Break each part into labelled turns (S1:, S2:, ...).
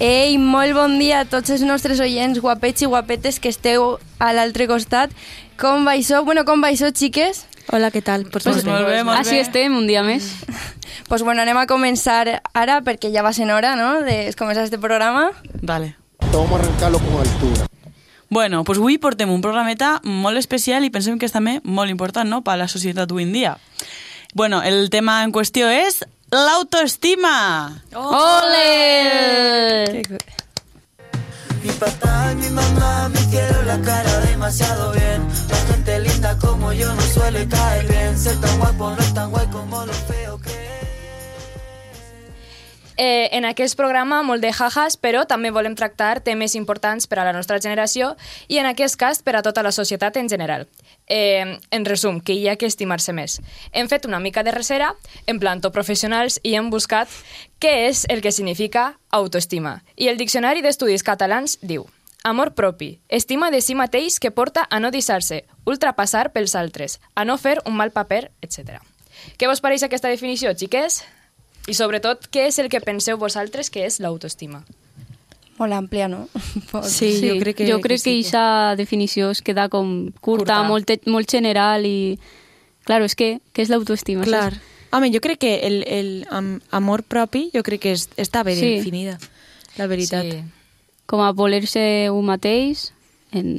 S1: Ei, molt bon dia a tots els nostres oients guapets i guapetes que esteu a l'altre costat. Com va això? Bueno, com va això, xiques?
S2: Hola, què tal? Pues, pues molt bé,
S3: Així estem, un dia més.
S1: Pues bueno, anem a començar ara, perquè ja va sent hora, no?, de començar este programa.
S4: Dale.
S5: Vamos a arrancarlo con altura.
S4: Bueno, doncs avui portem un programeta molt especial i pensem que és també molt important no? per a la societat avui en dia. Bueno, el tema en qüestió és l'autoestima.
S3: Ole!
S6: Mi papá y mi mamá me hicieron la cara demasiado bien. La gente linda como yo no suele caer bien. Ser tan guapo no es tan guay como lo feo que
S7: Eh, en aquest programa molt de jajas, però també volem tractar temes importants per a la nostra generació i en aquest cas per a tota la societat en general. Eh, en resum, que hi ha que estimar-se més. Hem fet una mica de recera, en plan tot professionals, i hem buscat què és el que significa autoestima. I el Diccionari d'Estudis Catalans diu Amor propi, estima de si mateix que porta a no dissar-se, ultrapassar pels altres, a no fer un mal paper, etc. Què vos pareix aquesta definició, xiques? I sobretot, què és el que penseu vosaltres que és l'autoestima?
S1: Molt àmplia, no? Pot.
S2: Sí, sí, jo crec que...
S3: jo crec que
S2: sí.
S3: aquesta definició es queda com curta,
S7: Curta.
S3: Molt, molt general i... Claro, és que, que és l'autoestima.
S2: Clar.
S3: saps?
S2: Home, jo crec que el, el am- amor propi jo crec que és, està ben
S3: Sí.
S2: definida, la veritat. Sí.
S3: Com a voler-se un mateix, en...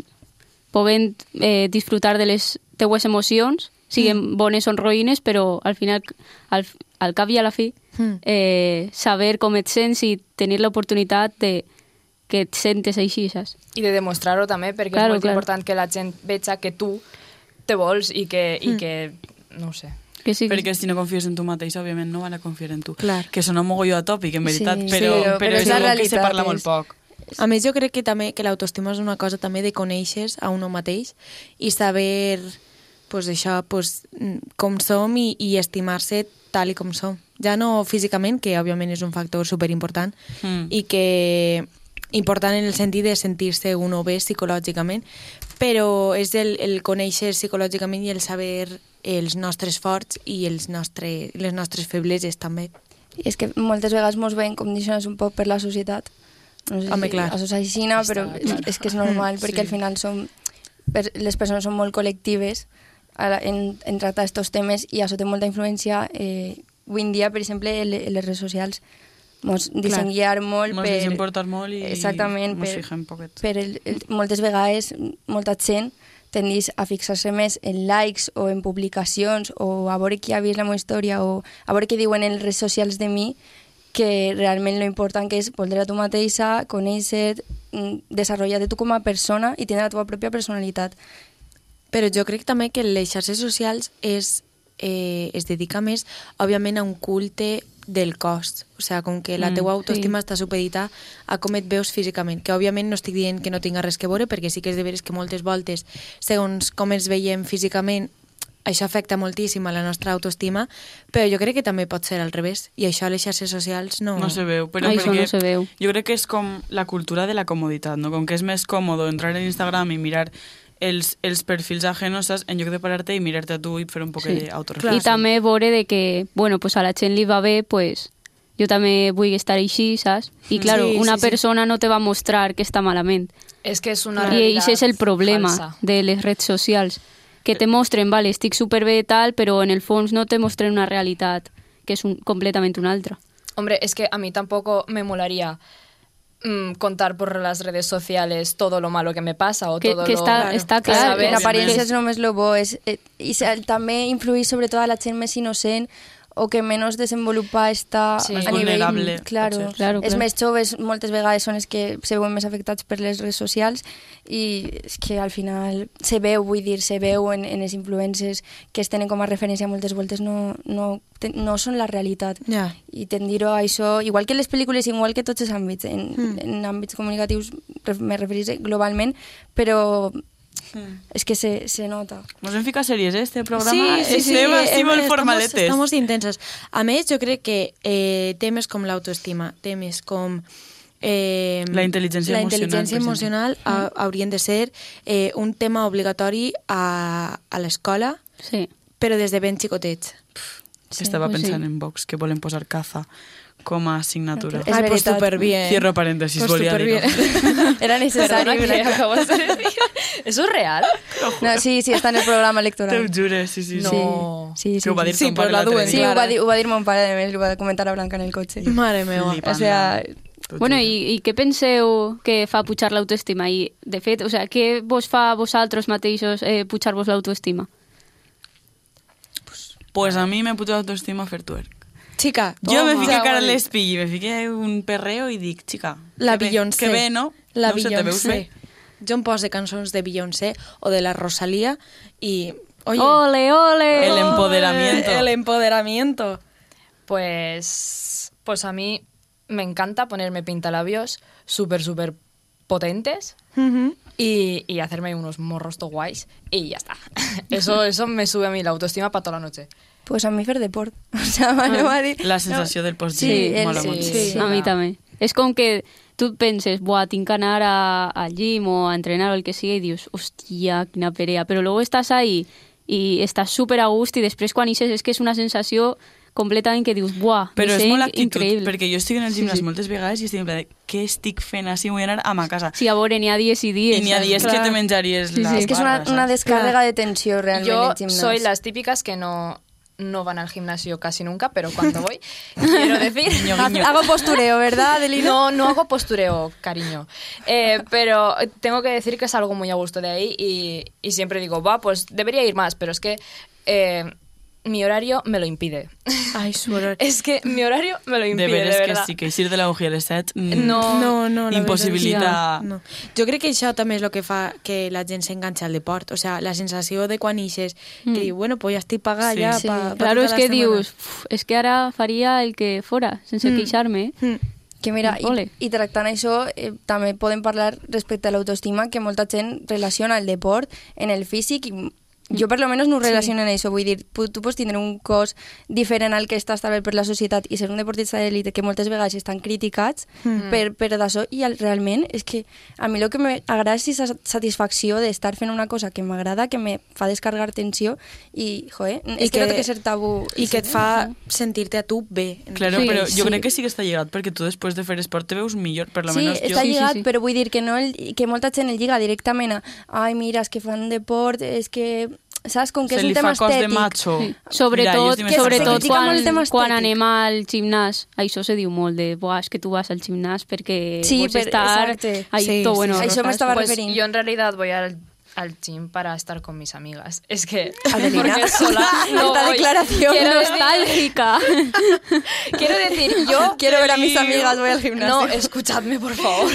S3: podent eh, disfrutar de les teues emocions,
S2: Mm.
S3: siguen bones o roïnes, però al final, al, al cap i a la fi,
S2: Mm.
S3: eh, saber com et sents i tenir l'oportunitat de que et sentes així, saps?
S7: I de demostrar-ho també, perquè claro,
S3: Claro,
S7: és molt
S3: claro.
S7: claro. important que la gent veja que tu te vols i que, i
S3: Hmm.
S7: que no ho sé.
S3: Que sí, que
S4: Perquè si no confies en tu mateix, òbviament no van a confiar en tu.
S2: Clar.
S4: Que sona mogolló a tòpic, en
S1: Sí,
S4: veritat,
S1: sí,
S4: però,
S1: però- però
S4: però,
S1: és la
S4: algo que se
S1: realitat,
S4: parla
S1: és-
S4: molt poc.
S2: A més, jo crec que també que l'autoestima és una cosa també de conèixer a un mateix i saber pues, això, pues, mm, com som i, i estimar-se tal i com som. Ja no físicament, que òbviament és un factor superimportant,
S4: Mm.
S2: i que important en el sentit de sentir-se un o bé psicològicament, però és el, el conèixer psicològicament i el saber els nostres forts i els nostre, les nostres febleses també.
S1: I és que moltes vegades mos veiem condicionats un poc per la societat. No sé
S2: Home,
S1: si
S2: clar.
S1: Això és així, no, però és, és que és normal, mm, perquè al final som, per, les persones són molt col·lectives a la- en, en tractar aquests temes i això té molta influència. Eh, avui en dia, per exemple, en le- en les redes socials mos deixen
S2: Clar.
S1: guiar molt
S4: Mos
S1: per...
S4: deixen portar molt i
S1: Exactament,
S4: mos fijem poquet.
S1: per el, el, moltes vegades molta gent tendís a fixar-se més en likes o en publicacions o a veure qui ha vist la meva història o a veure què diuen en les redes socials de mi que realment lo important que és voldre a tu mateixa, conèixer, desenvolupar-te tu com a persona i tindre la teva pròpia personalitat.
S2: Però jo crec també que les xarxes socials és, eh, es dedica més, òbviament, a un culte del cos. O sigui, com que la
S4: Mm,
S2: teua autoestima
S3: sí.
S2: està supedita a com et veus físicament. Que, òbviament, no estic dient que no tinga res que veure, perquè sí que és de veres que moltes voltes, segons com ens veiem físicament, això afecta moltíssim a la nostra autoestima, però jo crec que també pot ser al revés. I això a les xarxes socials no...
S4: No se veu, però
S3: Ah, això
S4: perquè
S3: no se veu.
S4: jo crec que és com la cultura de la comoditat, no? Com que és més còmode entrar en Instagram i mirar els, els perfils ajenos, saps? En lloc de parar-te i mirar-te a tu i fer un poc sí. d'autoreflexió.
S3: I també veure de que, bueno, pues a la gent li va bé, pues, jo també vull estar així, saps? I, claro,
S2: Sí,
S3: sí,
S2: sí,
S3: una
S2: sí.
S3: sí, persona no te va a mostrar que està malament.
S7: És que és una
S3: I
S7: realitat
S3: això és el problema
S7: falsa.
S3: de les redes socials, que te mostren, vale, estic superbé tal, però en el fons no te mostren una realitat que és un, completament una altra.
S7: Hombre, es que a mí tampoco me molaría mm, contar por las redes sociales todo lo malo que me pasa o
S3: Que-
S7: todo
S3: que
S7: lo...
S3: está- Claro. está
S1: Clar,
S7: que
S3: clar, Claro,
S1: en
S7: sabes.
S4: obviamente.
S1: apariencia es només lo bo. És, eh, I se- també influir sobretot a la gent més innocent o que menys desenvolupa està
S7: Sí.
S1: a
S7: Més
S1: nivell...
S4: vulnerable,
S1: Claro.
S4: potser.
S3: Claro,
S1: Els
S3: clar.
S1: més joves moltes vegades són els que se veuen més afectats per les redes socials i és que al final se veu, vull dir, se veu en, en les influències que es tenen com a referència moltes voltes no, no, te- no són la realitat.
S2: Ja.
S1: I tendir-ho a això, igual que en les pel·lícules, igual que tots els àmbits, en,
S2: Mm.
S1: mm. en àmbits comunicatius ref- me referiré globalment, però és que se, se nota.
S4: Mos hem ficat sèries, eh? Este programa estem
S2: eh,
S4: així molt
S2: estamos-
S4: formaletes.
S2: Estamos intensos. A més, jo crec que eh, temes com l'autoestima, temes com... Eh,
S4: La intel·ligència
S2: la
S4: emocional,
S2: intel·ligència
S4: per Mm.
S2: emocional ha, haurien de ser eh, un tema obligatori a, a l'escola,
S3: Sí.
S2: però des de ben xicotets.
S4: Estava
S3: pues sí.
S4: pensant en Vox, que volen posar caza com a assignatura.
S1: És
S2: Ai, pues
S1: veritat.
S2: superbien.
S4: Cierro paréntesis,
S2: pues
S4: volví a dir-ho.
S2: superbien.
S1: Era
S7: Perdona,
S1: necesario.
S7: que acabas de decir. ¿Eso es real?
S1: No, sí, sí, està en el programa
S4: Te ho
S1: electoral.
S4: juro, sí, sí. sí.
S1: Sí,
S2: No.
S1: sí, sí.
S4: Que ho va
S1: sí.
S4: dir
S2: Sí,
S4: ton
S2: però
S4: pare
S2: la
S4: l'altre
S2: duen,
S4: dia.
S1: Sí, ho va,
S2: Clara.
S1: dir, ho va dir mon pare, també, li ho va comentar a Blanca en el cotxe.
S2: Mare meva.
S4: Flipant,
S1: O sea,
S4: no?
S3: Bueno, i, i què penseu que fa pujar l'autoestima? I, de fet, o sea, què vos fa a vosaltres mateixos eh, pujar-vos l'autoestima?
S4: Pues a mí me puto autoestima fer twerk.
S2: Chica,
S4: Yo
S2: toma.
S4: me fiqué
S2: Ja,
S4: cara al
S2: guai.
S4: espill, me fiqué un perreo y dic, chica.
S2: La
S4: que bé-
S2: Beyoncé.
S4: Que bé, no?
S2: La
S4: no ho sé, te veus
S2: Beyoncé.
S4: bé?
S2: Jo em poso cançons de Beyoncé o de la Rosalía i... Oye,
S3: Ole, ole!
S4: El empoderamiento.
S2: El empoderamiento.
S7: Pues, pues a mí me encanta ponerme pintalabios súper, súper potentes y, y hacerme unos morros to guays y ya está. Eso, eso me sube a mí la autoestima para toda la noche.
S1: pues a mi fer deport. O sea, vale, va dir...
S4: La sensació del post-gym
S1: Sí, el-
S4: mola
S1: sí,
S4: molt.
S1: sí.
S3: a mi també. És com que tu et penses, buah, tinc que anar a, al gym o a entrenar o el que sigui, i dius, hòstia, quina perea. Però luego estàs ahí i estàs super a gust i després quan ixes és que és una sensació completament que dius, buah,
S4: Però
S3: me
S4: és
S3: sent
S4: molt actitud,
S3: increïble.
S4: perquè jo estic en el
S3: Sí,
S4: gimnàs
S3: sí.
S4: moltes vegades i estic en pla de què estic fent així, vull anar a ma casa.
S3: Sí, a veure, n'hi ha dies i
S4: I
S3: dies.
S4: n'hi ha
S3: saps?
S4: dies que
S3: Clar.
S4: te menjaries
S3: Sí,
S4: la
S3: sí.
S1: És que és una,
S4: barra,
S1: una
S4: saps?
S1: descàrrega de tensió, realment,
S7: Yo
S1: el gimnàs.
S7: soy las típicas que no, no van al gimnasio casi nunca, pero cuando voy, quiero decir,
S4: Guiño, guiño.
S1: Hago postureo, ¿verdad, Adelina?
S7: No, no hago postureo, cariño. Eh, pero tengo que decir que es algo muy a gusto de ahí y, y siempre digo, va, pues debería ir más, pero es que eh, mi horario me lo impide.
S2: Ai, suor.
S7: es que mi horario me lo impide,
S4: De
S7: de,
S4: veres que
S7: verdad.
S4: sí, que eixir de l'auge a les 7
S7: No,
S2: No, no, la
S4: impossibilita...
S2: veritat, No. Jo crec que això també és el que fa que la gent s'enganxa al deport. O sigui, la sensació de quan ixes, mm. que diu, bueno, pues ja estic pagada
S4: Sí.
S2: ja
S4: Sí.
S2: pa, pa
S3: Claro,
S2: tota
S3: és
S2: la
S3: que
S2: setmana.
S3: dius, "Uf, és que ara faria el que fora, sense queixar-me.
S2: Mm.
S1: Que mira, i,
S3: Ole.
S1: i tractant això, eh, també podem parlar respecte a l'autoestima, que molta gent relaciona el deport en el físic i jo per lo menos no ho relaciono en això, vull dir, pu- tu pots tindre un cos diferent al que està establert per la societat i ser un deportista d'elite que moltes vegades estan criticats
S2: Hmm.
S1: per, per d'això i al- realment és que a mi el que m'agrada és la satisfacció d'estar fent una cosa que m'agrada, que me fa descargar tensió i, joe, és que, no té que ser tabú.
S2: I que et fa sentir-te a tu bé.
S4: Claro,
S3: Sí,
S4: però jo
S3: sí.
S4: crec que sí que està lligat, perquè tu després de fer esport te veus millor, per lo
S1: sí,
S4: menos
S1: està
S4: jo...
S1: lligat,
S3: Sí, sí, sí.
S1: però vull dir que, no el, que molta gent el lliga directament a ai, mira, és que fan deport, és que... Saps? Com que
S4: Se
S1: és
S4: li
S1: un tema
S4: fa cos de
S1: estètic.
S4: macho.
S3: Sí. Sobretot,
S1: estic més
S3: sobretot
S1: cansada. Critica molt el tema
S3: quan,
S1: estètic.
S3: quan anem al gimnàs, això se diu molt de, buah, és que tu vas al gimnàs perquè
S1: Sí,
S3: vols
S1: per-
S3: estar...
S1: exacte.
S3: Ahí,
S2: Sí,
S3: todo
S2: sí,
S3: bueno,
S2: sí.
S1: Això m'estava
S7: pues
S1: referint.
S7: yo en realidad voy al, al gym para estar con mis amigas. Es que...
S1: Adelina.
S7: porque sola no
S1: Esta
S7: voy.
S1: declaración
S7: Quiero
S1: no
S7: decir-
S3: nostálgica.
S7: Quiero decir, yo...
S1: Quiero ver a mis amigas, voy al
S7: No,
S1: gimnasio.
S7: escuchadme, por favor.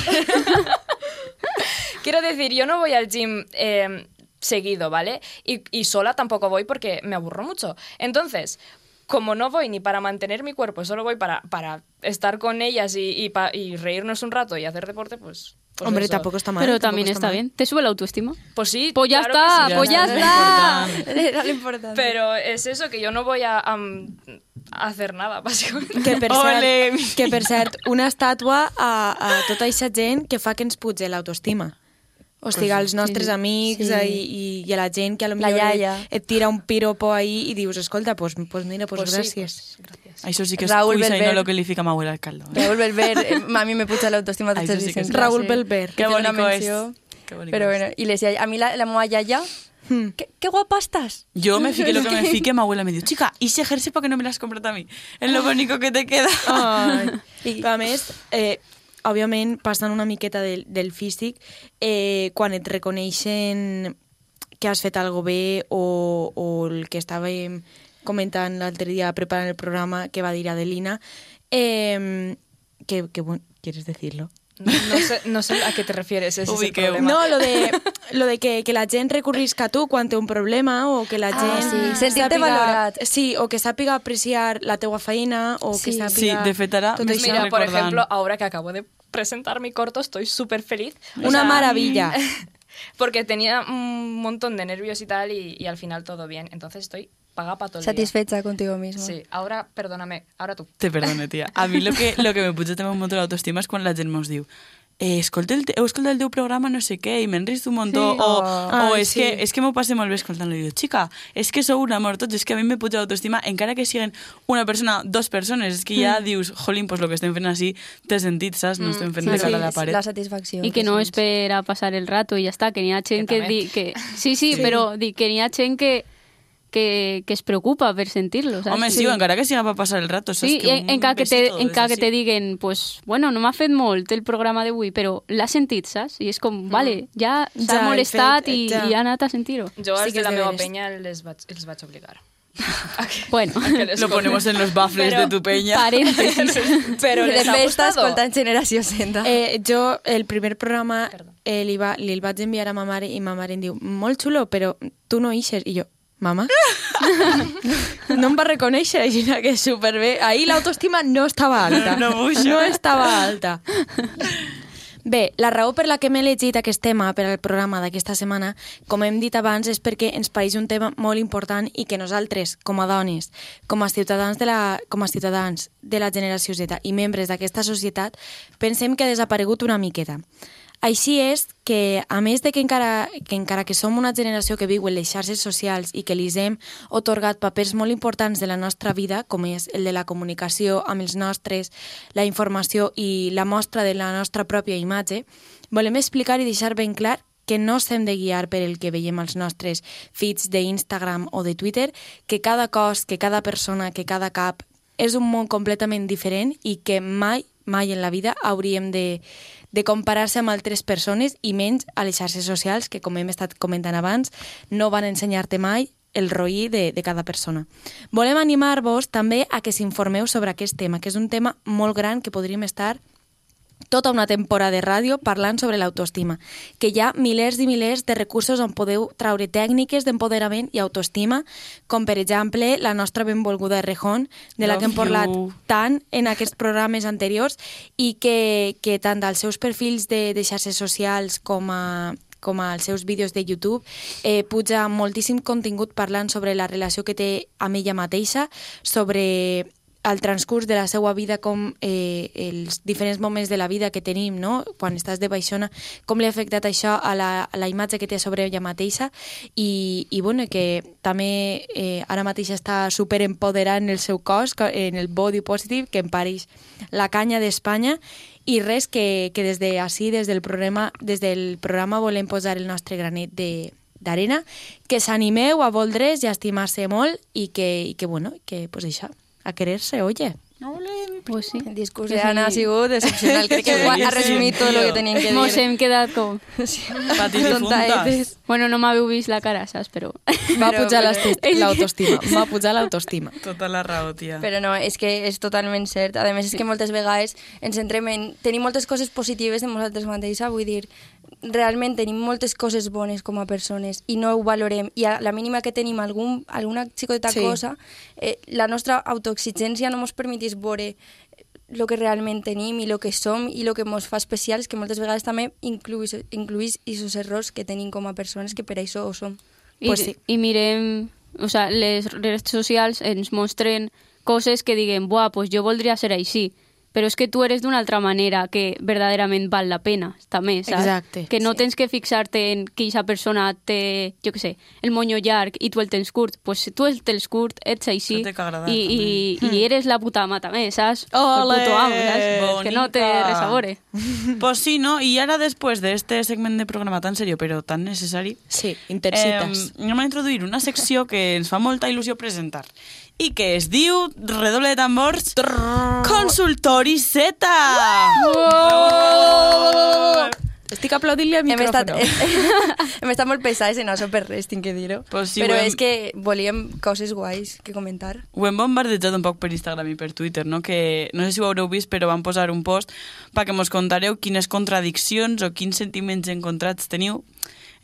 S7: Quiero decir, yo no voy al gym eh, seguido, ¿vale? Y, y sola tampoco voy porque me aburro mucho. Entonces, como no voy ni para mantener mi cuerpo, solo voy para, para estar con ellas y, y pa- y reírnos un rato y hacer deporte, pues... pues
S2: Hombre,
S7: eso.
S2: tampoco está mal.
S3: Pero
S2: tampoco
S3: también está
S2: mal.
S3: bien. ¿Te sube la autoestima?
S7: Pues sí,
S3: Pues ya
S7: claro que
S3: está,
S7: sí.
S3: pues ya
S4: no
S3: está.
S4: importa.
S1: Era lo importante.
S7: Pero es eso, que yo no voy a, a, mm, a hacer nada, básicamente.
S2: Que per,
S4: Ole!
S2: cert, que per cert, una estàtua a, a tota aquesta gent que fa que ens puge l'autoestima. O sigui, als nostres amics sí. i, i, i a la gent que a lo
S1: La
S2: millor
S1: iaia.
S2: et, et tira un piropo ahí i dius, escolta, pues, pues mira, pues,
S7: Pues
S2: pues
S7: sí,
S2: gràcies. Sí,
S4: Això sí que és
S1: Raúl
S4: cuisa i
S1: Belver.
S4: no lo que li fica ma abuela al caldo. Eh?
S1: Raúl Belver, eh, a mí me pucha la autoestima de
S4: Ay,
S1: estos
S4: eso sí que es
S1: dicen.
S2: clase. Raúl Belver.
S1: que
S4: Qué
S1: hace una
S4: bonito es.
S1: mención.
S4: Qué bonito
S1: Pero
S4: es. Hmm.
S1: bueno, y les decía, a mí la, la moa yaya, ¿qué, qué guapa estás.
S4: Yo me fiqué lo que me fiqué, mi abuela me dijo, chica, y ese ejercicio para que no me lo has comprado a mí. Es lo único que te queda.
S2: I... Però a més, eh, òbviament, passant una miqueta del, del físic, eh, quan et reconeixen que has fet algo bé o, o el que estàvem comentant l'altre dia preparant el programa que va dir Adelina, eh, que, que, bueno, ¿quieres decirlo?
S7: No, no sé, no sé a qué te refieres, ese es el
S4: Ubiqueo.
S7: problema.
S2: No, lo de, lo de que, que la gent recorrisca a tu quan té un problema o que la
S1: Ah,
S2: gent...
S1: sí, sentir-te valorat.
S2: Sí, o que sàpiga apreciar la teua feina o que
S1: Sí.
S2: sàpiga...
S4: Sí, de fet, ara
S2: tot
S4: m'he
S7: Pues
S2: això.
S4: Deixa
S7: mira, por
S4: recordar.
S7: ejemplo, ahora que acabo de presentar mi corto, estoy súper feliz. O
S2: Una
S7: sea,
S2: maravilla.
S7: Porque tenía un montón de nervios y tal, y, y al final todo bien. Entonces estoy paga para todo el día.
S1: Satisfecha contigo mismo.
S7: Sí, ahora, perdóname, ahora tú.
S4: Te perdone, tía. A mí lo que, lo que me puso también un montón de autoestima es cuando la gente nos diu eh, escolta el, te- heu escoltat el teu programa no sé què i me'n rist un muntó
S2: Sí.
S4: o,
S2: Ah.
S4: o
S2: Ai,
S4: és,
S2: sí.
S4: que, és que m'ho passe molt bé escoltant-lo i diu, xica, és que sou un amor tots, és que a mi m'he pujat l'autoestima encara que siguen una persona, dos persones és que ja
S3: Mm.
S4: dius, jolín, pues lo que estem fent així té sentit, saps? No estem fent de
S1: Sí,
S4: cara a la paret
S1: la satisfacció.
S3: Y que no espera pasar el rato y ya está, que ni Chen que, di- que sí, sí, pero di, que ni Chen que, que, que es preocupa por sentirlo. ¿sabes?
S4: Home, sí,
S3: Sí.
S4: encara que siga per passar el rato, saps?
S3: Sí, i en, en cas que te,
S4: besito
S3: en
S4: és
S3: cas que
S4: així.
S3: te diguen, pues, bueno, no m'ha fet molt el programa d'avui, però l'has sentit, saps? I és com, vale, ja s'ha
S2: Ja, he
S3: molestat
S2: fet,
S3: i,
S2: ja.
S3: i ha anat a sentir-ho.
S7: Jo
S2: Sí
S7: els
S2: que
S7: de
S2: és
S7: la meva
S2: deberes.
S7: penya els vaig, els vaig obligar.
S3: Bueno,
S4: Lo ponemos en los baffles
S7: Però-
S4: de tu peña.
S3: paréntesis.
S7: Però
S1: de
S7: les ha
S1: festa
S7: gustado.
S1: escoltant Generació Senda.
S2: Eh, jo, el primer programa, eh, li, va, li el vaig enviar a ma mare i ma mare em diu, molt xulo, però tu no ixes. I jo, mama? no em va reconèixer, així que és superbé. Ahir l'autoestima no estava alta.
S4: No mucho.
S2: no estava alta. Bé, la raó per la que m'he llegit aquest tema per al programa d'aquesta setmana, com hem dit abans, és perquè ens pareix un tema molt important i que nosaltres, com a dones, com a ciutadans de la, com a ciutadans de la generació Z i membres d'aquesta societat, pensem que ha desaparegut una miqueta. Així és que, a més de que encara, que encara que som una generació que viu en les xarxes socials i que li hem otorgat papers molt importants de la nostra vida, com és el de la comunicació amb els nostres, la informació i la mostra de la nostra pròpia imatge, volem explicar i deixar ben clar que no s'hem de guiar per el que veiem als nostres feeds d'Instagram o de Twitter, que cada cos, que cada persona, que cada cap és un món completament diferent i que mai, mai en la vida hauríem de, de comparar-se amb altres persones i menys a les xarxes socials, que com hem estat comentant abans, no van ensenyar-te mai el roí de, de cada persona. Volem animar-vos també a que s'informeu sobre aquest tema, que és un tema molt gran que podríem estar tota una temporada de ràdio parlant sobre l'autoestima, que hi ha milers i milers de recursos on podeu traure tècniques d'empoderament i autoestima, com per exemple la nostra benvolguda Rejón, de la que hem
S4: Love
S2: parlat
S4: you.
S2: tant en aquests programes anteriors i que, que tant dels seus perfils de, de xarxes socials com a com als seus vídeos de YouTube, eh, puja moltíssim contingut parlant sobre la relació que té amb ella mateixa, sobre el transcurs de la seva vida, com eh, els diferents moments de la vida que tenim, no? quan estàs de baixona, com li ha afectat això a la, a la imatge que té sobre ella mateixa i, i bueno, que també eh, ara mateix està super empoderant en el seu cos, co- en el body positive, que en París la canya d'Espanya i res que, que des de així, des del programa, des del programa volem posar el nostre granet de d'arena, que s'animeu a voldre's i a estimar-se molt i que, i que bueno, que pues això, a querer-se, oye.
S3: Pues sí.
S1: El discurs d'Anna ha sigut excepcional. Crec que
S4: Sí,
S1: guai, ha
S4: sí,
S1: resumit tot
S4: tio.
S1: el que tenien que dir.
S3: Mos hem quedat com...
S4: Patis difuntes.
S1: Tontaetes.
S3: Bueno, no m'haveu vist la cara, saps? Però...
S2: Va
S1: Però-
S2: pujar
S1: però-
S2: l'autoest- l'autoestima, va pujar l'autoestima.
S4: Tota la raó, tia.
S1: Però no, és que és totalment cert. A més, és que moltes vegades ens centrem en... Tenim moltes coses positives de nosaltres mateixes, vull dir, realment tenim moltes coses bones com a persones i no ho valorem. I a la mínima que tenim algun, alguna xicoteta
S2: Sí.
S1: sí. cosa, eh, la nostra autoexigència no ens permetís veure el que realment tenim i el que som i el que ens fa especials, que moltes vegades també incluís, incluís aquests errors que tenim com a persones, que per això ho som.
S3: I,
S2: Pues sí.
S3: I mirem... O sea, les redes socials ens mostren coses que diguen, buah, pues jo voldria ser així, però és que tu eres d'una altra manera que verdaderament val la pena, també, saps?
S2: Exacte.
S3: Que no sí. tens que fixar-te en que aquesta persona té, jo què sé, el monyo llarg i tu el tens curt. Pues si tu el tens curt, ets així
S4: Això té que agradar,
S3: i, i, i eres la puta ama, també, saps?
S2: Ole!
S3: El puto amo, saps? És Que no te
S4: Bonica.
S3: resabore.
S4: Pues sí, ¿no? Y ahora después de este segment de programa tan serio però tan necessari,
S2: Sí, intercites.
S4: Eh, anem a introduir una secció que ens fa molta il·lusió presentar i que es diu, redoble de tambors, Consultori Z!
S2: Estic aplaudint-li al
S1: Hem estat,
S2: micròfon.
S1: hem estat molt pesades en això per res, tinc que dir-ho.
S4: Pues sí,
S1: Però
S4: ho hem-
S1: és que volíem coses guais que comentar.
S4: Ho hem bombardejat un poc per Instagram i per Twitter, no? Que no sé si ho haureu vist, però vam posar un post perquè mos contareu quines contradiccions o quins sentiments encontrats teniu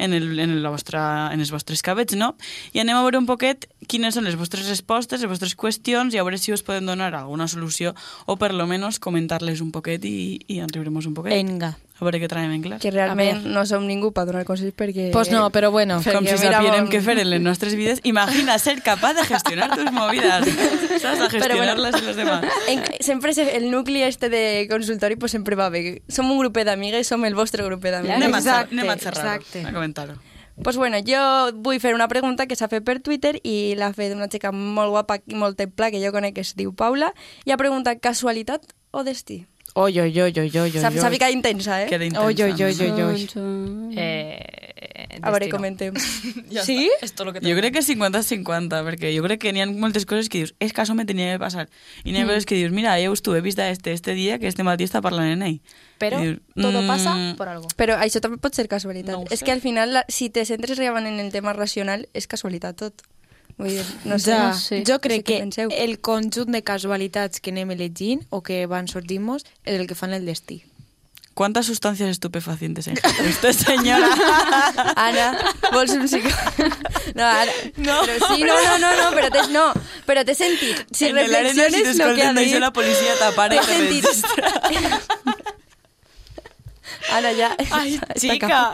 S4: en, el, en, el vostre, en els vostres cabets, no? I anem a veure un poquet quines són les vostres respostes, les vostres qüestions, i a veure si us podem donar alguna solució o per lo menos comentar-les un poquet i, i ens riurem un poquet.
S2: Venga.
S4: a veure què traiem en clar.
S1: que realment no som ningú per donar consells perquè...
S2: Pues no, però bueno.
S4: Com
S1: perquè
S4: si
S1: mira,
S4: sapiérem
S1: bon-
S4: què fer en les nostres vides. Imagina ser capaç de gestionar tus movides, saps? De gestionar-les i los demás.
S1: En, sempre se- el nucli este de consultori pues sempre va bé. Som un grupet d'amigues, som el vostre grupet
S4: Anem
S1: d'amigues.
S4: a, xer-
S2: Exacte,
S4: anem a xerrar-ho,
S2: exacte.
S4: a comentar-ho.
S1: pues bueno, jo vull fer una pregunta que s'ha fet per Twitter i l'ha fet una xica molt guapa i molt templa que jo conec que es diu Paula i ha preguntat casualitat o destí?
S2: Oi, oi, oi, oi, oi,
S1: S'ha s'ha
S2: oi.
S1: ficat intensa, eh?
S4: Queda intensa.
S2: Oi, oi, oi, oi,
S3: Doncs,
S2: oi.
S7: Eh,
S1: A veure,
S7: destino.
S1: comentem.
S7: Ja sí? És tot lo que
S4: Jo crec que 50-50, perquè jo crec que n'hi ha moltes coses que dius, és que això me tenia que passar. I
S1: Mm.
S4: n'hi ha coses que dius, mira, ja us t'ho he vist a este, este dia, que este matí està parlant en ell.
S7: Però
S4: I dius,
S7: todo
S4: "Mm,
S7: pasa por algo.
S1: Però això també pot ser casualitat.
S4: No ho
S1: és
S4: sé.
S1: que al final, la, si te centres realment en el tema racional, és casualitat tot. Vull dir, no sé.
S2: Ja,
S3: no sé.
S2: Jo
S1: No sé
S2: crec
S1: què
S2: que
S1: penseu.
S2: el conjunt de casualitats que anem elegint o que van sortint-nos és el que fan el destí.
S4: ¿Cuántas sustancias estupefacientes en Usted, señora.
S1: Ana, vols un psicò... No, ara... No. Però sí, no, no, no, no, però t'he no, però t'he sentit. Si
S4: en el arena, si
S1: reflexiones lo que ha
S4: t'escolten,
S1: dit...
S4: dice la policia tapar i
S1: T'he
S4: te
S1: sentit.
S4: registra.
S1: Ara ja...
S4: Ai,
S1: està
S4: chica.
S1: cap.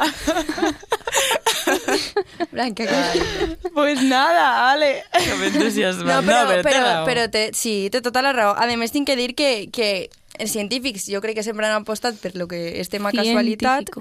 S1: Blanca, que...
S4: Pues nada, Ale. Que m'entusiasma.
S1: No, però,
S4: no, però, té
S1: però,
S4: raó.
S1: però té, sí, té tota la raó. A més, tinc que dir que, que els científics jo crec que sempre han apostat per lo que és tema casualitat.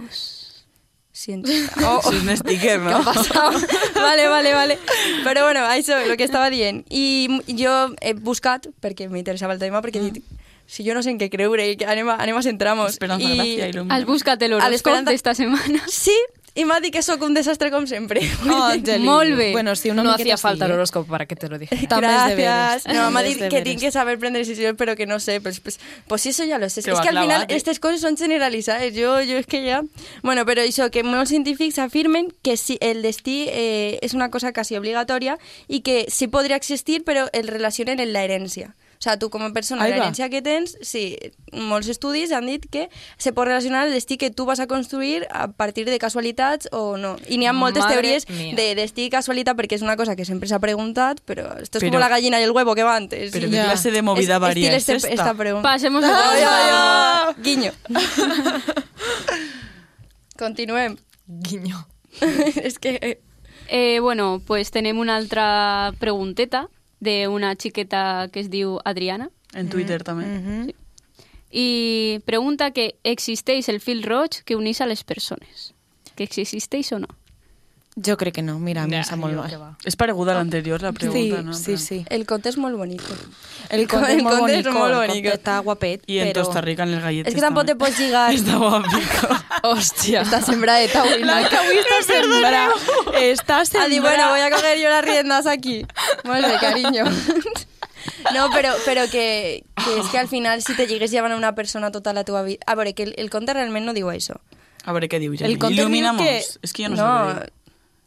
S1: Cient... Oh,
S4: Sí, és un sticker, no?
S1: Què ha passat? vale, vale, vale. Però bueno, això, el que estava dient. I m- jo he buscat, perquè m'interessava el tema, perquè he dit,
S4: Mm.
S1: si jo no sé en què creure, i que anem a, anem a centrar-nos.
S4: Esperanza,
S1: I...
S4: gracia, il·lum.
S3: Has buscat el horòscop
S1: l'esperança-
S3: d'esta setmana.
S1: Sí, i m'ha dit que sóc un desastre com sempre.
S4: Oh,
S2: Angeli.
S3: Molt bé.
S2: Bueno, sí, una
S7: no
S2: miqueta
S7: hacía falta
S2: sí,
S7: el
S2: eh?
S7: horóscopo para que te lo dije.
S2: També és de veres.
S1: Gracias. No, m'ha
S2: També és
S1: dit
S2: de
S1: que
S2: veres.
S1: tinc que saber prendre decisions, però que no sé. Pues, pues, pues sí, eso ya lo sé.
S4: Que
S1: és
S4: va
S1: que al final
S4: clavat, eh?
S1: aquestes coses són generalitzades. Jo, jo és que ja... Bueno, però això, que molts científics afirmen que si el destí eh, és una cosa quasi obligatòria i que sí podria existir, però el relacionen en la herència. O sea, tu com a persona,
S2: Ahí va.
S1: l'herència que tens, sí, molts estudis han dit que se pot relacionar el destí que tu vas a construir a partir de casualitats o no. I n'hi ha moltes
S7: Madre
S1: teories
S7: mía.
S1: de destí i casualitat perquè és una cosa que sempre s'ha preguntat, però esto es
S4: Però-
S1: com la gallina i el huevo que va antes.
S4: Pero
S1: Sí.
S4: qué
S2: Ya.
S4: clase de movida
S1: Es-
S4: varía
S1: estil
S4: es
S1: este-
S4: esta.
S1: esta pregunta.
S3: Pasemos a
S1: Ay,
S3: otra.
S1: ay, ay. Guiño. Continuem.
S7: Guiño.
S1: és que... eh,
S3: Eh, bueno, pues tenim una altra pregunteta d'una xiqueta que es diu Adriana
S4: En Twitter també.
S2: Mhm.
S3: i pregunta que existeix el fil roig que unís a les persones. Que existeix o no?
S2: Jo crec que no, mira, a mi em sap molt mal.
S4: És pareguda a l'anterior, la pregunta,
S2: sí,
S4: no?
S2: sí, sí.
S1: El conte és molt bonic.
S2: El conte
S1: El
S2: és molt
S1: conte és
S2: bonic,
S1: molt
S2: el
S1: bonic.
S2: conte està guapet,
S4: I en
S2: però...
S4: Costa Rica, en les galletes
S1: És que tampoc te
S4: també.
S1: pots lligar.
S4: Està guapico.
S7: Hostia.
S1: Està sembradeta, avui.
S2: Blanca, avui està sembrada. Està
S1: A dir, Ah, bueno,
S2: sembrada.
S1: voy a coger yo las riendas aquí. Molt bé, cariño. No, però, però que, que és que al final si te lligues llevant a una persona tota la teva vida... A veure, que el, el conte realment no diu això.
S4: A veure què diu, Jenny.
S2: El conte diu
S4: Il·lumina'm.
S2: que-
S4: És que jo no, no. sé què dir.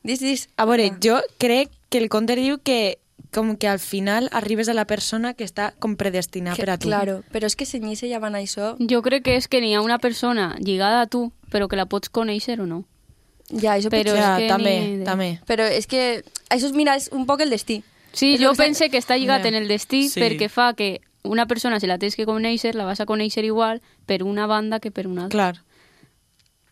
S1: Dis, dis.
S2: A veure, jo crec que el conte diu que com que al final arribes a la persona que està com predestinada
S1: Que-
S2: per a tu.
S1: Claro, però és que cenyir-se llevant a això...
S3: Jo crec que és que n'hi ha una persona lligada a tu, però que la pots conèixer o no.
S1: Ja, això
S3: Però
S1: però...
S3: és
S2: ja,
S3: que
S2: també,
S3: ni idea.
S2: també.
S1: però és que... Això, és, mira, és un poc el destí.
S3: Sí,
S1: És
S3: jo
S1: el que-
S3: pense que està lligat
S2: Ja.
S3: en el destí
S4: Sí.
S3: sí. perquè fa que una persona, si la tens que conèixer, la vas a conèixer igual per una banda que per una altra.
S2: Clar.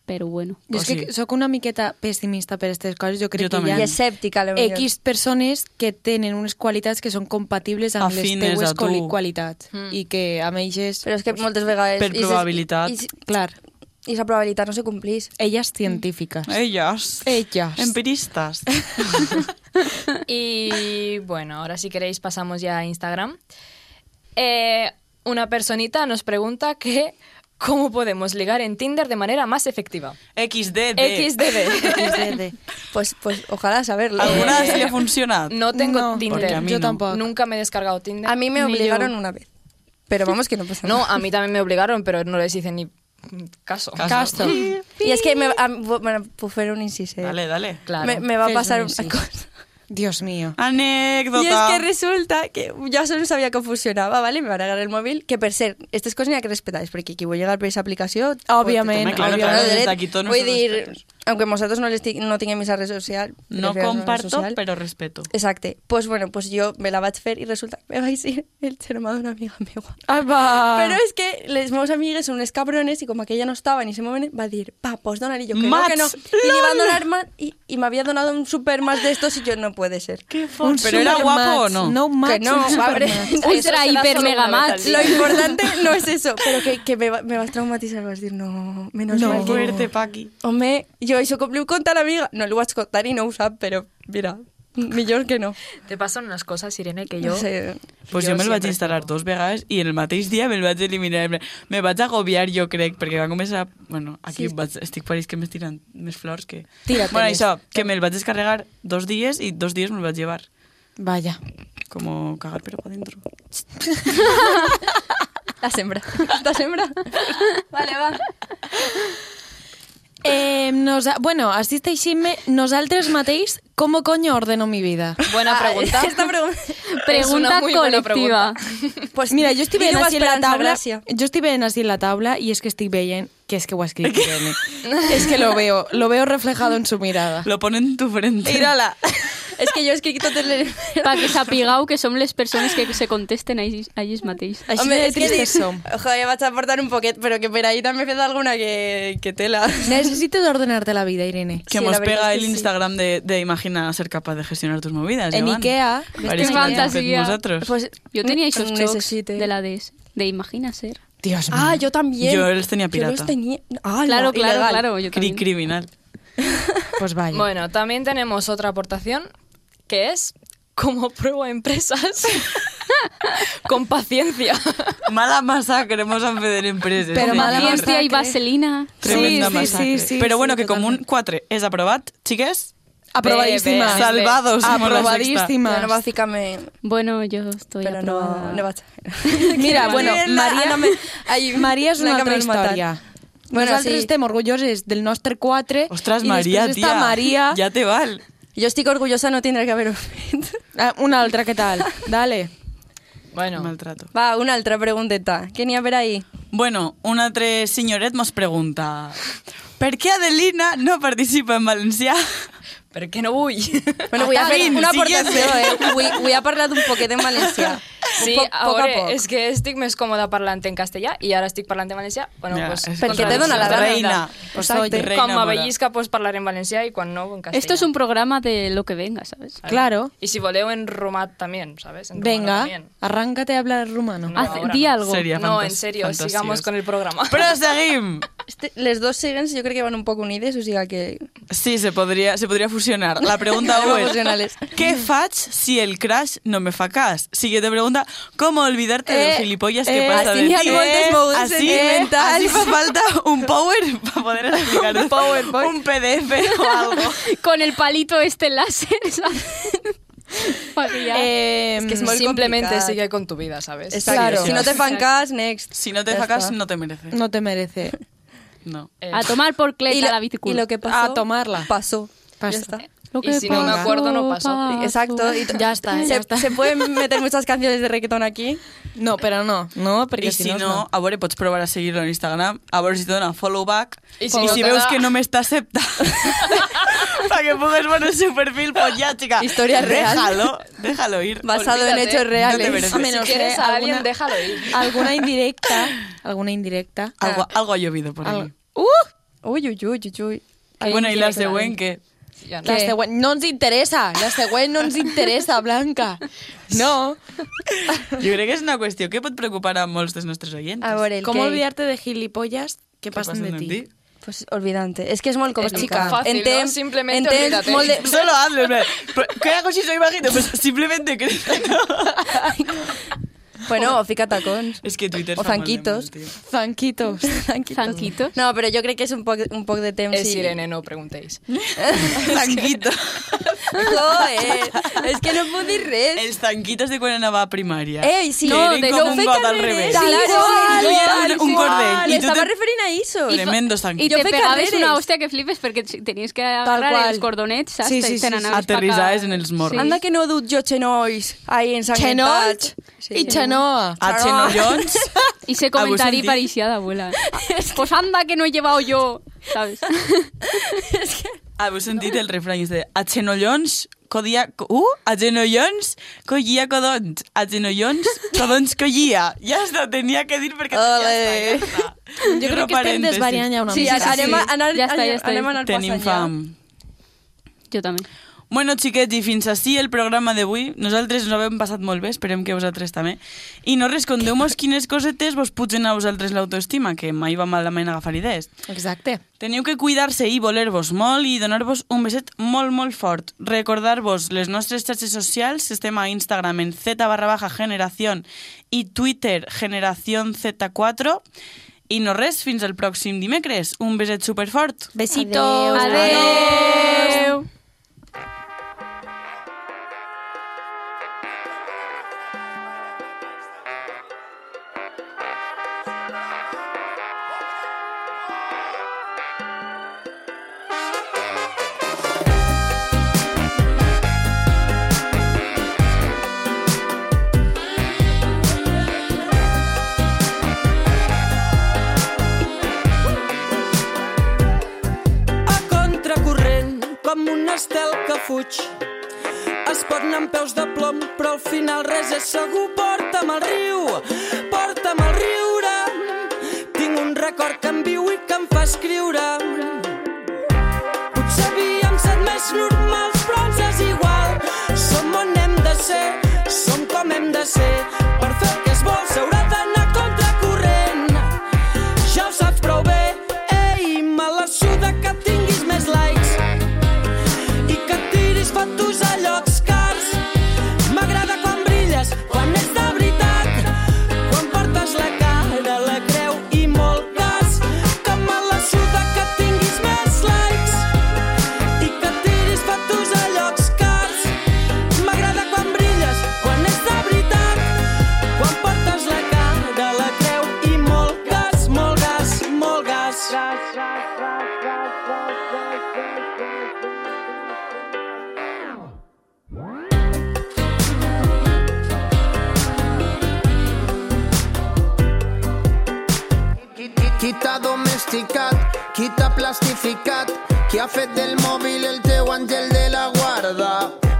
S3: Però bueno.
S2: Jo
S4: O
S2: és que
S4: sigui-
S2: sóc una miqueta pessimista per aquestes coses. Jo crec
S4: Jo
S2: que
S4: també.
S2: hi
S1: I
S2: ha
S1: escèptica, a lo millor.
S2: X persones que tenen unes qualitats que són compatibles amb
S4: Afines
S2: les
S4: a
S2: teues
S4: tu.
S2: quali- qualitats.
S1: Mm.
S2: I que amb eixes...
S1: Però és que moltes vegades...
S4: Pues, Per
S1: i ses-
S4: probabilitat.
S1: I, i,
S2: Clar,
S1: i la probabilitat no se complís.
S2: elles científiques.
S4: Ellas.
S2: Ellas.
S4: Empiristas.
S7: Y bueno, ahora si queréis pasamos ya a Instagram. Eh, una personita nos pregunta que cómo podemos ligar en Tinder de manera más efectiva.
S4: XD.
S7: XDD.
S2: XDD.
S1: Pues, pues ojalá saberlo.
S4: Alguna vez li ha funcionat?
S7: No tengo
S2: No,
S4: porque a
S7: Tinder.
S4: mí
S2: Yo
S4: no.
S2: tampoco.
S7: Nunca me he descargado Tinder.
S1: A mí me
S3: Ni
S1: obligaron
S3: yo.
S1: una vez. Pero vamos que no pasa
S7: No,
S1: nada.
S7: a mí también me obligaron, pero no les hice ni caso.
S2: Casto.
S1: Y es que me, a, mí- bueno, pues fue un inciso.
S4: Dale, dale.
S7: Claro.
S1: Me, me va a
S2: Fes
S1: pasar
S2: un
S1: una
S2: incís.
S1: cosa.
S2: Dios mío.
S4: Anècdota.
S1: Y es que resulta que yo solo sabía que funcionaba, ¿vale? Me van a agarrar el móvil. Que per ser, estas cosas ni que respetáis, porque aquí voy a llegar por esa aplicación. pues,
S2: Òbviament,
S4: Home, clar,
S2: òbviament.
S4: clar, des d'aquí tots
S1: Vull
S4: nostres
S1: dir,
S4: respectes.
S1: aunque vosaltres no, les ti- no tinguem esa red social... prefereixo
S4: No
S1: una
S4: comparto,
S1: social.
S4: pero respeto.
S1: Exacte. Pues bueno, pues yo me la vaig fer i resulta que me va a ir el germà d'una amiga meva.
S2: Ai, va!
S1: Pero es que les meus amigues son unos cabrones y como aquella no estaba en ese momento, va a decir, pa, pues donar y yo, que no,
S4: Mats,
S1: que no. Y le iba a
S4: lol.
S1: donar más y, y me había donado un super más de estos y yo, no puede ser.
S4: Qué
S2: Un
S4: ¿Pero era guapo o
S2: supermatch.
S4: no?
S2: No
S1: que
S2: match,
S1: no,
S2: un
S1: va, hombre.
S2: supermatch.
S1: Eso
S3: Ultra,
S1: se da
S3: hiper,
S1: solo
S3: mega
S1: una vez
S3: match.
S1: al día. Lo importante no es eso, pero que, que me, va- me vas a traumatizar, vas a decir, no, menos
S2: No.
S1: mal que...
S4: Fuerte, Paqui.
S1: Home, jo això com li ho conta a l'amiga, no li ho vaig contar i no ho sap, però mira, millor que no.
S7: Te pasan unas cosas, Irene, que yo...
S1: No sé.
S4: Pues
S7: Jo
S4: jo, me'l vaig
S7: sempre
S4: instal·lar
S7: estic-
S4: dos vegades i en el mateix dia me'l vaig eliminar. En plan, Me vaig agobiar, jo crec, perquè va començar... Bueno, aquí sí. vaig, estic pareix que m'estiren més flors que...
S2: Tira-te-les.
S4: Bueno, això, que me'l vaig descarregar dos dies i dos dies me'l vaig llevar.
S2: Vaya.
S4: Como cagar pero pa dentro.
S1: La sembra. La sembra. Vale, va.
S2: Eh, nos, bueno, així està així, me- nosaltres mateix, com coño ordeno mi vida?
S7: Buena pregunta.
S1: Ah, Esta pregunta...
S3: Pregunta
S7: muy buena
S3: colectiva.
S1: Pues
S2: Mira, jo estic veient
S1: digueu
S2: així la
S1: Esperanza
S2: taula...
S1: Gracia.
S2: Jo estic veient així la taula i és que estic veient que és que ho ha escrit Irene. és que lo veo, lo veo reflejado en su mirada.
S4: Lo pone en tu frente.
S2: Mírala.
S1: És que jo he escrit totes les...
S3: Para que sapigueu que som les persones que se contesten a ells, a ells mateix.
S2: Així Home, de
S1: és que
S2: tristes
S1: dic-
S2: som.
S1: Joder, vaig aportar un poquet, però que per ahí també he fet alguna que, que tela.
S2: Necessites ordenar-te la vida, Irene.
S4: Que
S1: Sí,
S4: nos
S1: la verdad es
S4: pega
S1: que
S4: el
S1: sí.
S4: Instagram de, de imagina ser capaz de gestionar tus movidas.
S2: En
S4: Joan.
S2: Ikea,
S4: Parece que
S3: vestim
S4: ho hem fet
S3: fantasía.
S4: Nosaltres.
S1: Pues,
S3: Yo tenía esos chocs
S1: necessite.
S3: de la DS, de Imagina Ser.
S2: Dios mío.
S1: Ah, yo también.
S4: Yo los tenía pirata.
S1: Yo los tenía... Ah,
S3: Claro,
S1: no,
S3: claro,
S1: ilegal.
S3: claro. Yo
S4: Cri
S3: también.
S4: criminal.
S2: Pues vaya.
S7: Bueno, también tenemos otra aportación, que es cómo pruebo a empresas con paciencia.
S4: Mala masacre hemos a pedir empresas.
S2: Pero
S4: Sí.
S2: mala
S3: Valencia
S2: masacre.
S3: y Vaselina.
S4: Tremenda
S2: Sí, sí,
S4: masacre.
S2: sí, sí,
S4: Pero bueno,
S2: sí,
S4: que como un 4 és aprovat, xiques, eh,
S2: Aprobadísima.
S7: Ve, ve, ve.
S4: salvados. somos la sexta.
S1: Yo
S2: Aprobadísima.
S1: no básicamente...
S3: Bueno, yo estoy
S1: Pero
S3: aprobada.
S1: no, no vaig...
S2: Mira,
S1: Que
S2: bueno,
S1: Maria-
S2: Maria,
S1: Ah, no me-
S2: ai, Maria és una
S1: no, que
S2: altra
S1: m'han matat.
S2: història.
S1: Bueno,
S2: Nosaltres
S1: sí.
S2: estem orgulloses del nostre 4
S4: Ostras,
S2: i
S4: María,
S2: després està
S4: tía.
S2: Maria,
S4: Ya te val.
S1: Jo estic orgullosa no tindre que haver-ho fet.
S2: Ah, una altra, què tal? Dale.
S7: Bueno,
S4: Maltrato.
S1: Va, una altra pregunteta. Què n'hi ha per ahí?
S4: Bueno, un altre senyoret mos pregunta per què Adelina no participa en valencià?
S7: pero que no voy.
S1: Bueno, vull
S4: Està
S1: fer
S4: vint,
S1: una aportació,
S4: siguiente.
S1: eh? Vull, vull ha parlat un poquet en valencià.
S7: Sí,
S1: Po- poc a
S7: ahora
S1: poc.
S7: es que estic més còmoda parlant en castellà i ara estic parlant en valencià. Bueno,
S4: Ja,
S7: pues,
S4: és
S1: que- Perquè te dona la
S7: contra-
S4: reina.
S7: Pues
S4: Exacte.
S7: oye,
S4: Reina
S7: Quan
S4: mola.
S7: m'avellisca, pues parlar en valencià i quan no, en castellà.
S3: Esto es un programa de lo que venga, ¿sabes?
S2: Claro.
S7: Y si voleo en romà también, ¿sabes? En romano
S2: Venga,
S7: también.
S2: arráncate a hablar rumano.
S7: No.
S3: Haz-
S7: ahora
S3: di
S7: no.
S3: algo.
S4: Seria
S7: No,
S4: fantas-
S7: en serio,
S4: fantasiós.
S7: sigamos con el programa.
S4: Però seguim!
S1: Este, les dos següents jo crec que van un poc unides, o sigui que...
S4: Sí, se podria, se podria fusionar. La pregunta
S1: Anem a
S4: ho
S1: fusionar-les.
S4: és, què faig si el crash no me fa cas? Siguiente pregunta, com olvidar-te
S2: Eh,
S4: eh, del gilipollas que
S2: eh,
S4: passa
S1: així
S4: de
S1: n'hi ha
S4: ti?
S1: moltes mogudes
S4: així,
S1: sentimentals.
S4: així fa falta un power per poder explicar un,
S2: PowerPoint.
S4: un PDF o algo.
S3: Con el palito este láser, ¿sabes? Pues Pa' guiar.
S2: Eh,
S1: que es molt
S7: Simplemente
S1: complicat.
S7: sigue con tu vida, ¿sabes?
S1: Exacte.
S2: Claro.
S1: Si no te fan cas, next.
S4: Si no te
S1: Ja
S4: fa cas,
S1: està.
S4: no te merece.
S2: no te merece.
S4: No.
S7: Eh,
S3: a tomar por
S1: Y
S3: cleta
S1: lo-
S3: la
S1: Y lo
S3: viticul.
S1: que pasó...
S2: A tomarla.
S1: Pasó.
S2: Pasó.
S1: Ya está.
S3: Lo
S7: Y si no me
S3: pasó,
S7: acuerdo, no pasó.
S1: Exacto. y to-
S2: Ya está,
S1: se,
S2: ya está.
S1: se pueden meter muchas canciones de reggaetón aquí.
S2: No, pero no. No, porque
S4: I
S2: si,
S4: si
S2: no...
S4: no, a veure, pots provar a seguir-lo en Instagram, a veure si et dona follow back,
S7: I
S4: i
S7: si
S4: si,
S7: no
S4: si
S7: te
S4: veus
S7: da-
S4: que no m'est'accepta, perquè pugues veure el seu perfil, pues ja, chica,
S1: Historia real.
S4: déjalo, déjalo ir.
S1: Basado en
S7: Olvídate.
S1: hechos reales.
S4: No te mereces.
S2: A menos
S7: si quieres
S2: que
S7: a
S2: alguna-
S7: alguien, déjalo ir.
S2: Alguna indirecta. Alguna indirecta.
S4: Algo,
S1: Ah,
S4: algo ha llovido por
S2: Al-
S4: ahí.
S2: Uh!
S1: Uy, uy, uy, uy, uy.
S4: Bueno, i la següent, que...
S7: Ya no.
S2: La següent no ens interessa. La següent no ens interessa, Blanca. No.
S4: Jo crec que és una qüestió que pot preocupar a molts dels nostres oients.
S1: A ver, el
S2: Com
S1: que-
S2: olvidar-te de gilipolles que passen de ti?
S1: Pues olvidante. Es que es muy complicat.
S7: chica, fàcil, no? Simplement
S1: temps
S7: olvídate.
S1: molt de-
S4: Solo hazlo, en plan, ¿qué hago si soy bajito? Pues simplemente que...
S1: Bueno, o fica tacons.
S4: Es que Twitter
S1: O
S4: fa molt de
S1: zanquitos.
S4: mal, tio.
S2: Zanquitos.
S3: Zanquitos.
S1: No, pero yo creo que es un poco un poc de temps.
S7: Es
S1: i-
S7: Irene, no preguntéis.
S4: Zanquito.
S1: Joder, es que no puedo dir res.
S4: Els zanquitos de quan anava a primària.
S1: Ei, sí.
S4: Que
S1: No,
S4: eren
S1: de-
S4: com
S1: no
S4: un
S1: feien
S4: got al
S1: res.
S4: revés.
S1: Claro,
S4: Igual,
S1: sí,
S4: igual,
S1: igual,
S4: un cordell.
S1: Le
S4: I tu
S1: estaba
S4: te...
S1: refiriendo a eso.
S4: Tremendo. Tremendos
S3: Y
S4: zanquitos.
S3: te
S1: Yo fui
S3: pegabas
S1: caderes.
S3: una hostia que flipes porque tenías que agarrar
S2: cual.
S3: los cordonetes, ¿sabes?
S2: Sí,
S3: Te-
S2: sí, sí,
S3: te
S2: sí.
S3: nanabas pa'
S4: Aterrizades
S3: acá.
S4: en els morros.
S1: Anda que no he dut jo xenois ahí
S2: Xenot
S1: ensangrentats.
S2: i Xenoa.
S4: A Xenollons.
S3: Y se
S4: Ah, vos
S3: comentarí
S4: sentís.
S3: parisiada, abuela. Pues anda que no he llevado yo ¿sabes?
S4: Heu sentit el refrany de a genollons, codia... Uh, a genollons, collia codons. A genollons, codons collia. Ja està, tenia que dir
S1: Ole.
S4: perquè... Ja està, ja està.
S2: Jo crec que estem
S4: parèntesi.
S2: desvariant ja una
S1: Sí,
S2: mica.
S1: ara anem a,
S3: sí.
S1: anar,
S3: Ja està, ja
S1: anem-
S3: està,
S1: anem
S3: ja
S1: a anar
S4: Tenim
S1: passant ja.
S4: fam.
S3: Yo también.
S4: Bueno, xiquets, i fins així el programa d'avui. Nosaltres ens ho hem passat molt bé, esperem que vosaltres també. I no respondeu-nos quines cosetes vos pugen a vosaltres l'autoestima, que mai va malament agafar idees.
S2: Exacte.
S4: Teniu que cuidar-se i voler-vos molt i donar-vos un beset molt, molt fort. Recordar-vos les nostres xarxes socials, estem a Instagram en z barra baja generación i Twitter generación z4. I no res, fins al pròxim dimecres. Un beset superfort.
S2: Besitos.
S3: Adeu.
S8: a contracorrent com un estel que fuig. Es pot anar amb peus de plom, però al final res és segur. Porta'm al riu, porta'm al riure. Tinc un record que em viu i que em fa escriure. Potser havíem set més normals, però ens és igual. Som on hem de ser, som com hem de ser. Per fer el que es vol s'haurà d'anar contracorrent. Ja ho saps prou bé, ei, me la suda que tinguis més likes i que tiris fotos a llocs cars. M'agrada quan brilles, quan ets de veritat, quan portes la cara, la creu i molt cas. Que me la suda que tinguis més likes i que tiris fotos a llocs cars. M'agrada quan brilles, quan és de veritat, quan portes la cara, la creu i molt gas, molt gas, molt gas.
S5: Quita domesticat, quita plastificat, que ha fet del mòbil el teu àngel de la guarda.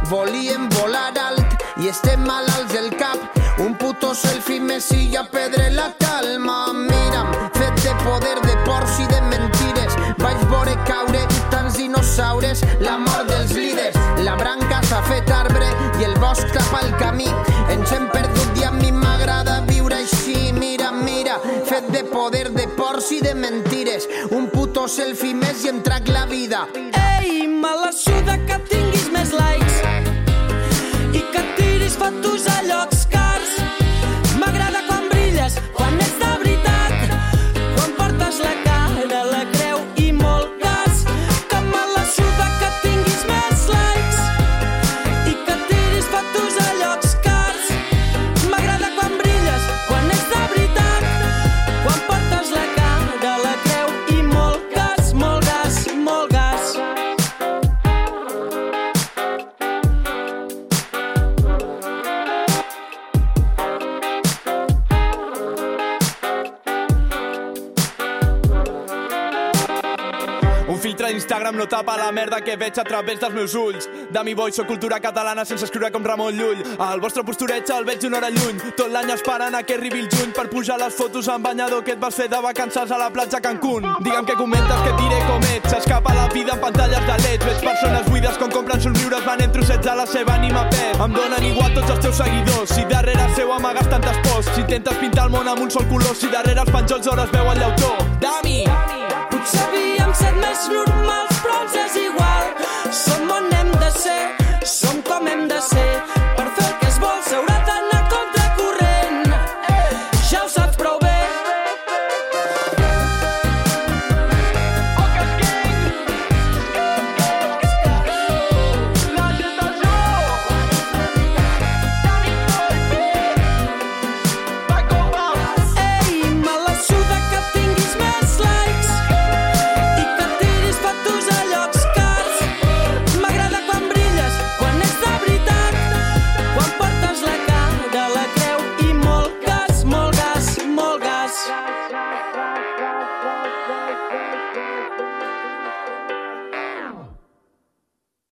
S5: Volíem volar alt i estem malalts del cap. Un puto selfie me silla pedre la calma. Mira'm, fet de poder, de porcs i de mentides. Vaig veure caure tants dinosaures, la mort dels líders. La branca s'ha fet arbre i el bosc tapa el camí. Ens hem perdut i a mi m'agrada viure així. Mira, mira, fet de poder, de porcs i de mentides. Un puto selfie més i em trac la vida.
S8: Ei, me la suda que tinguis més likes i que tiris fotos a llocs cars. M'agrada quan brilles, quan ets de veritat, quan portes la cara, la creu i molt gas. Que me la suda que tinguis més likes i que tiris fotos a llocs cars. M'agrada quan brilles, quan ets de veritat, quan portes la cara, la creu i molt gas, molt gas, molt gas.
S9: Un filtre d'Instagram no tapa la merda que veig a través dels meus ulls. De mi boi, sóc cultura catalana sense escriure com Ramon Llull. El vostre postureig el veig d'una hora lluny. Tot l'any esperant a que arribi el juny per pujar les fotos en banyador que et vas fer de vacances a la platja Cancún. Digue'm que comentes que diré com ets. S'escapa la vida en pantalles de leds. Veig persones buides com compren somriures, van en trossets a la seva ànima pet. Em donen igual tots els teus seguidors. Si darrere seu amagues tantes pors. Si intentes pintar el món amb un sol color. Si darrere els penjols d'hores veu el llautó. Dami!
S8: Potser havíem set més normals, però ens és igual.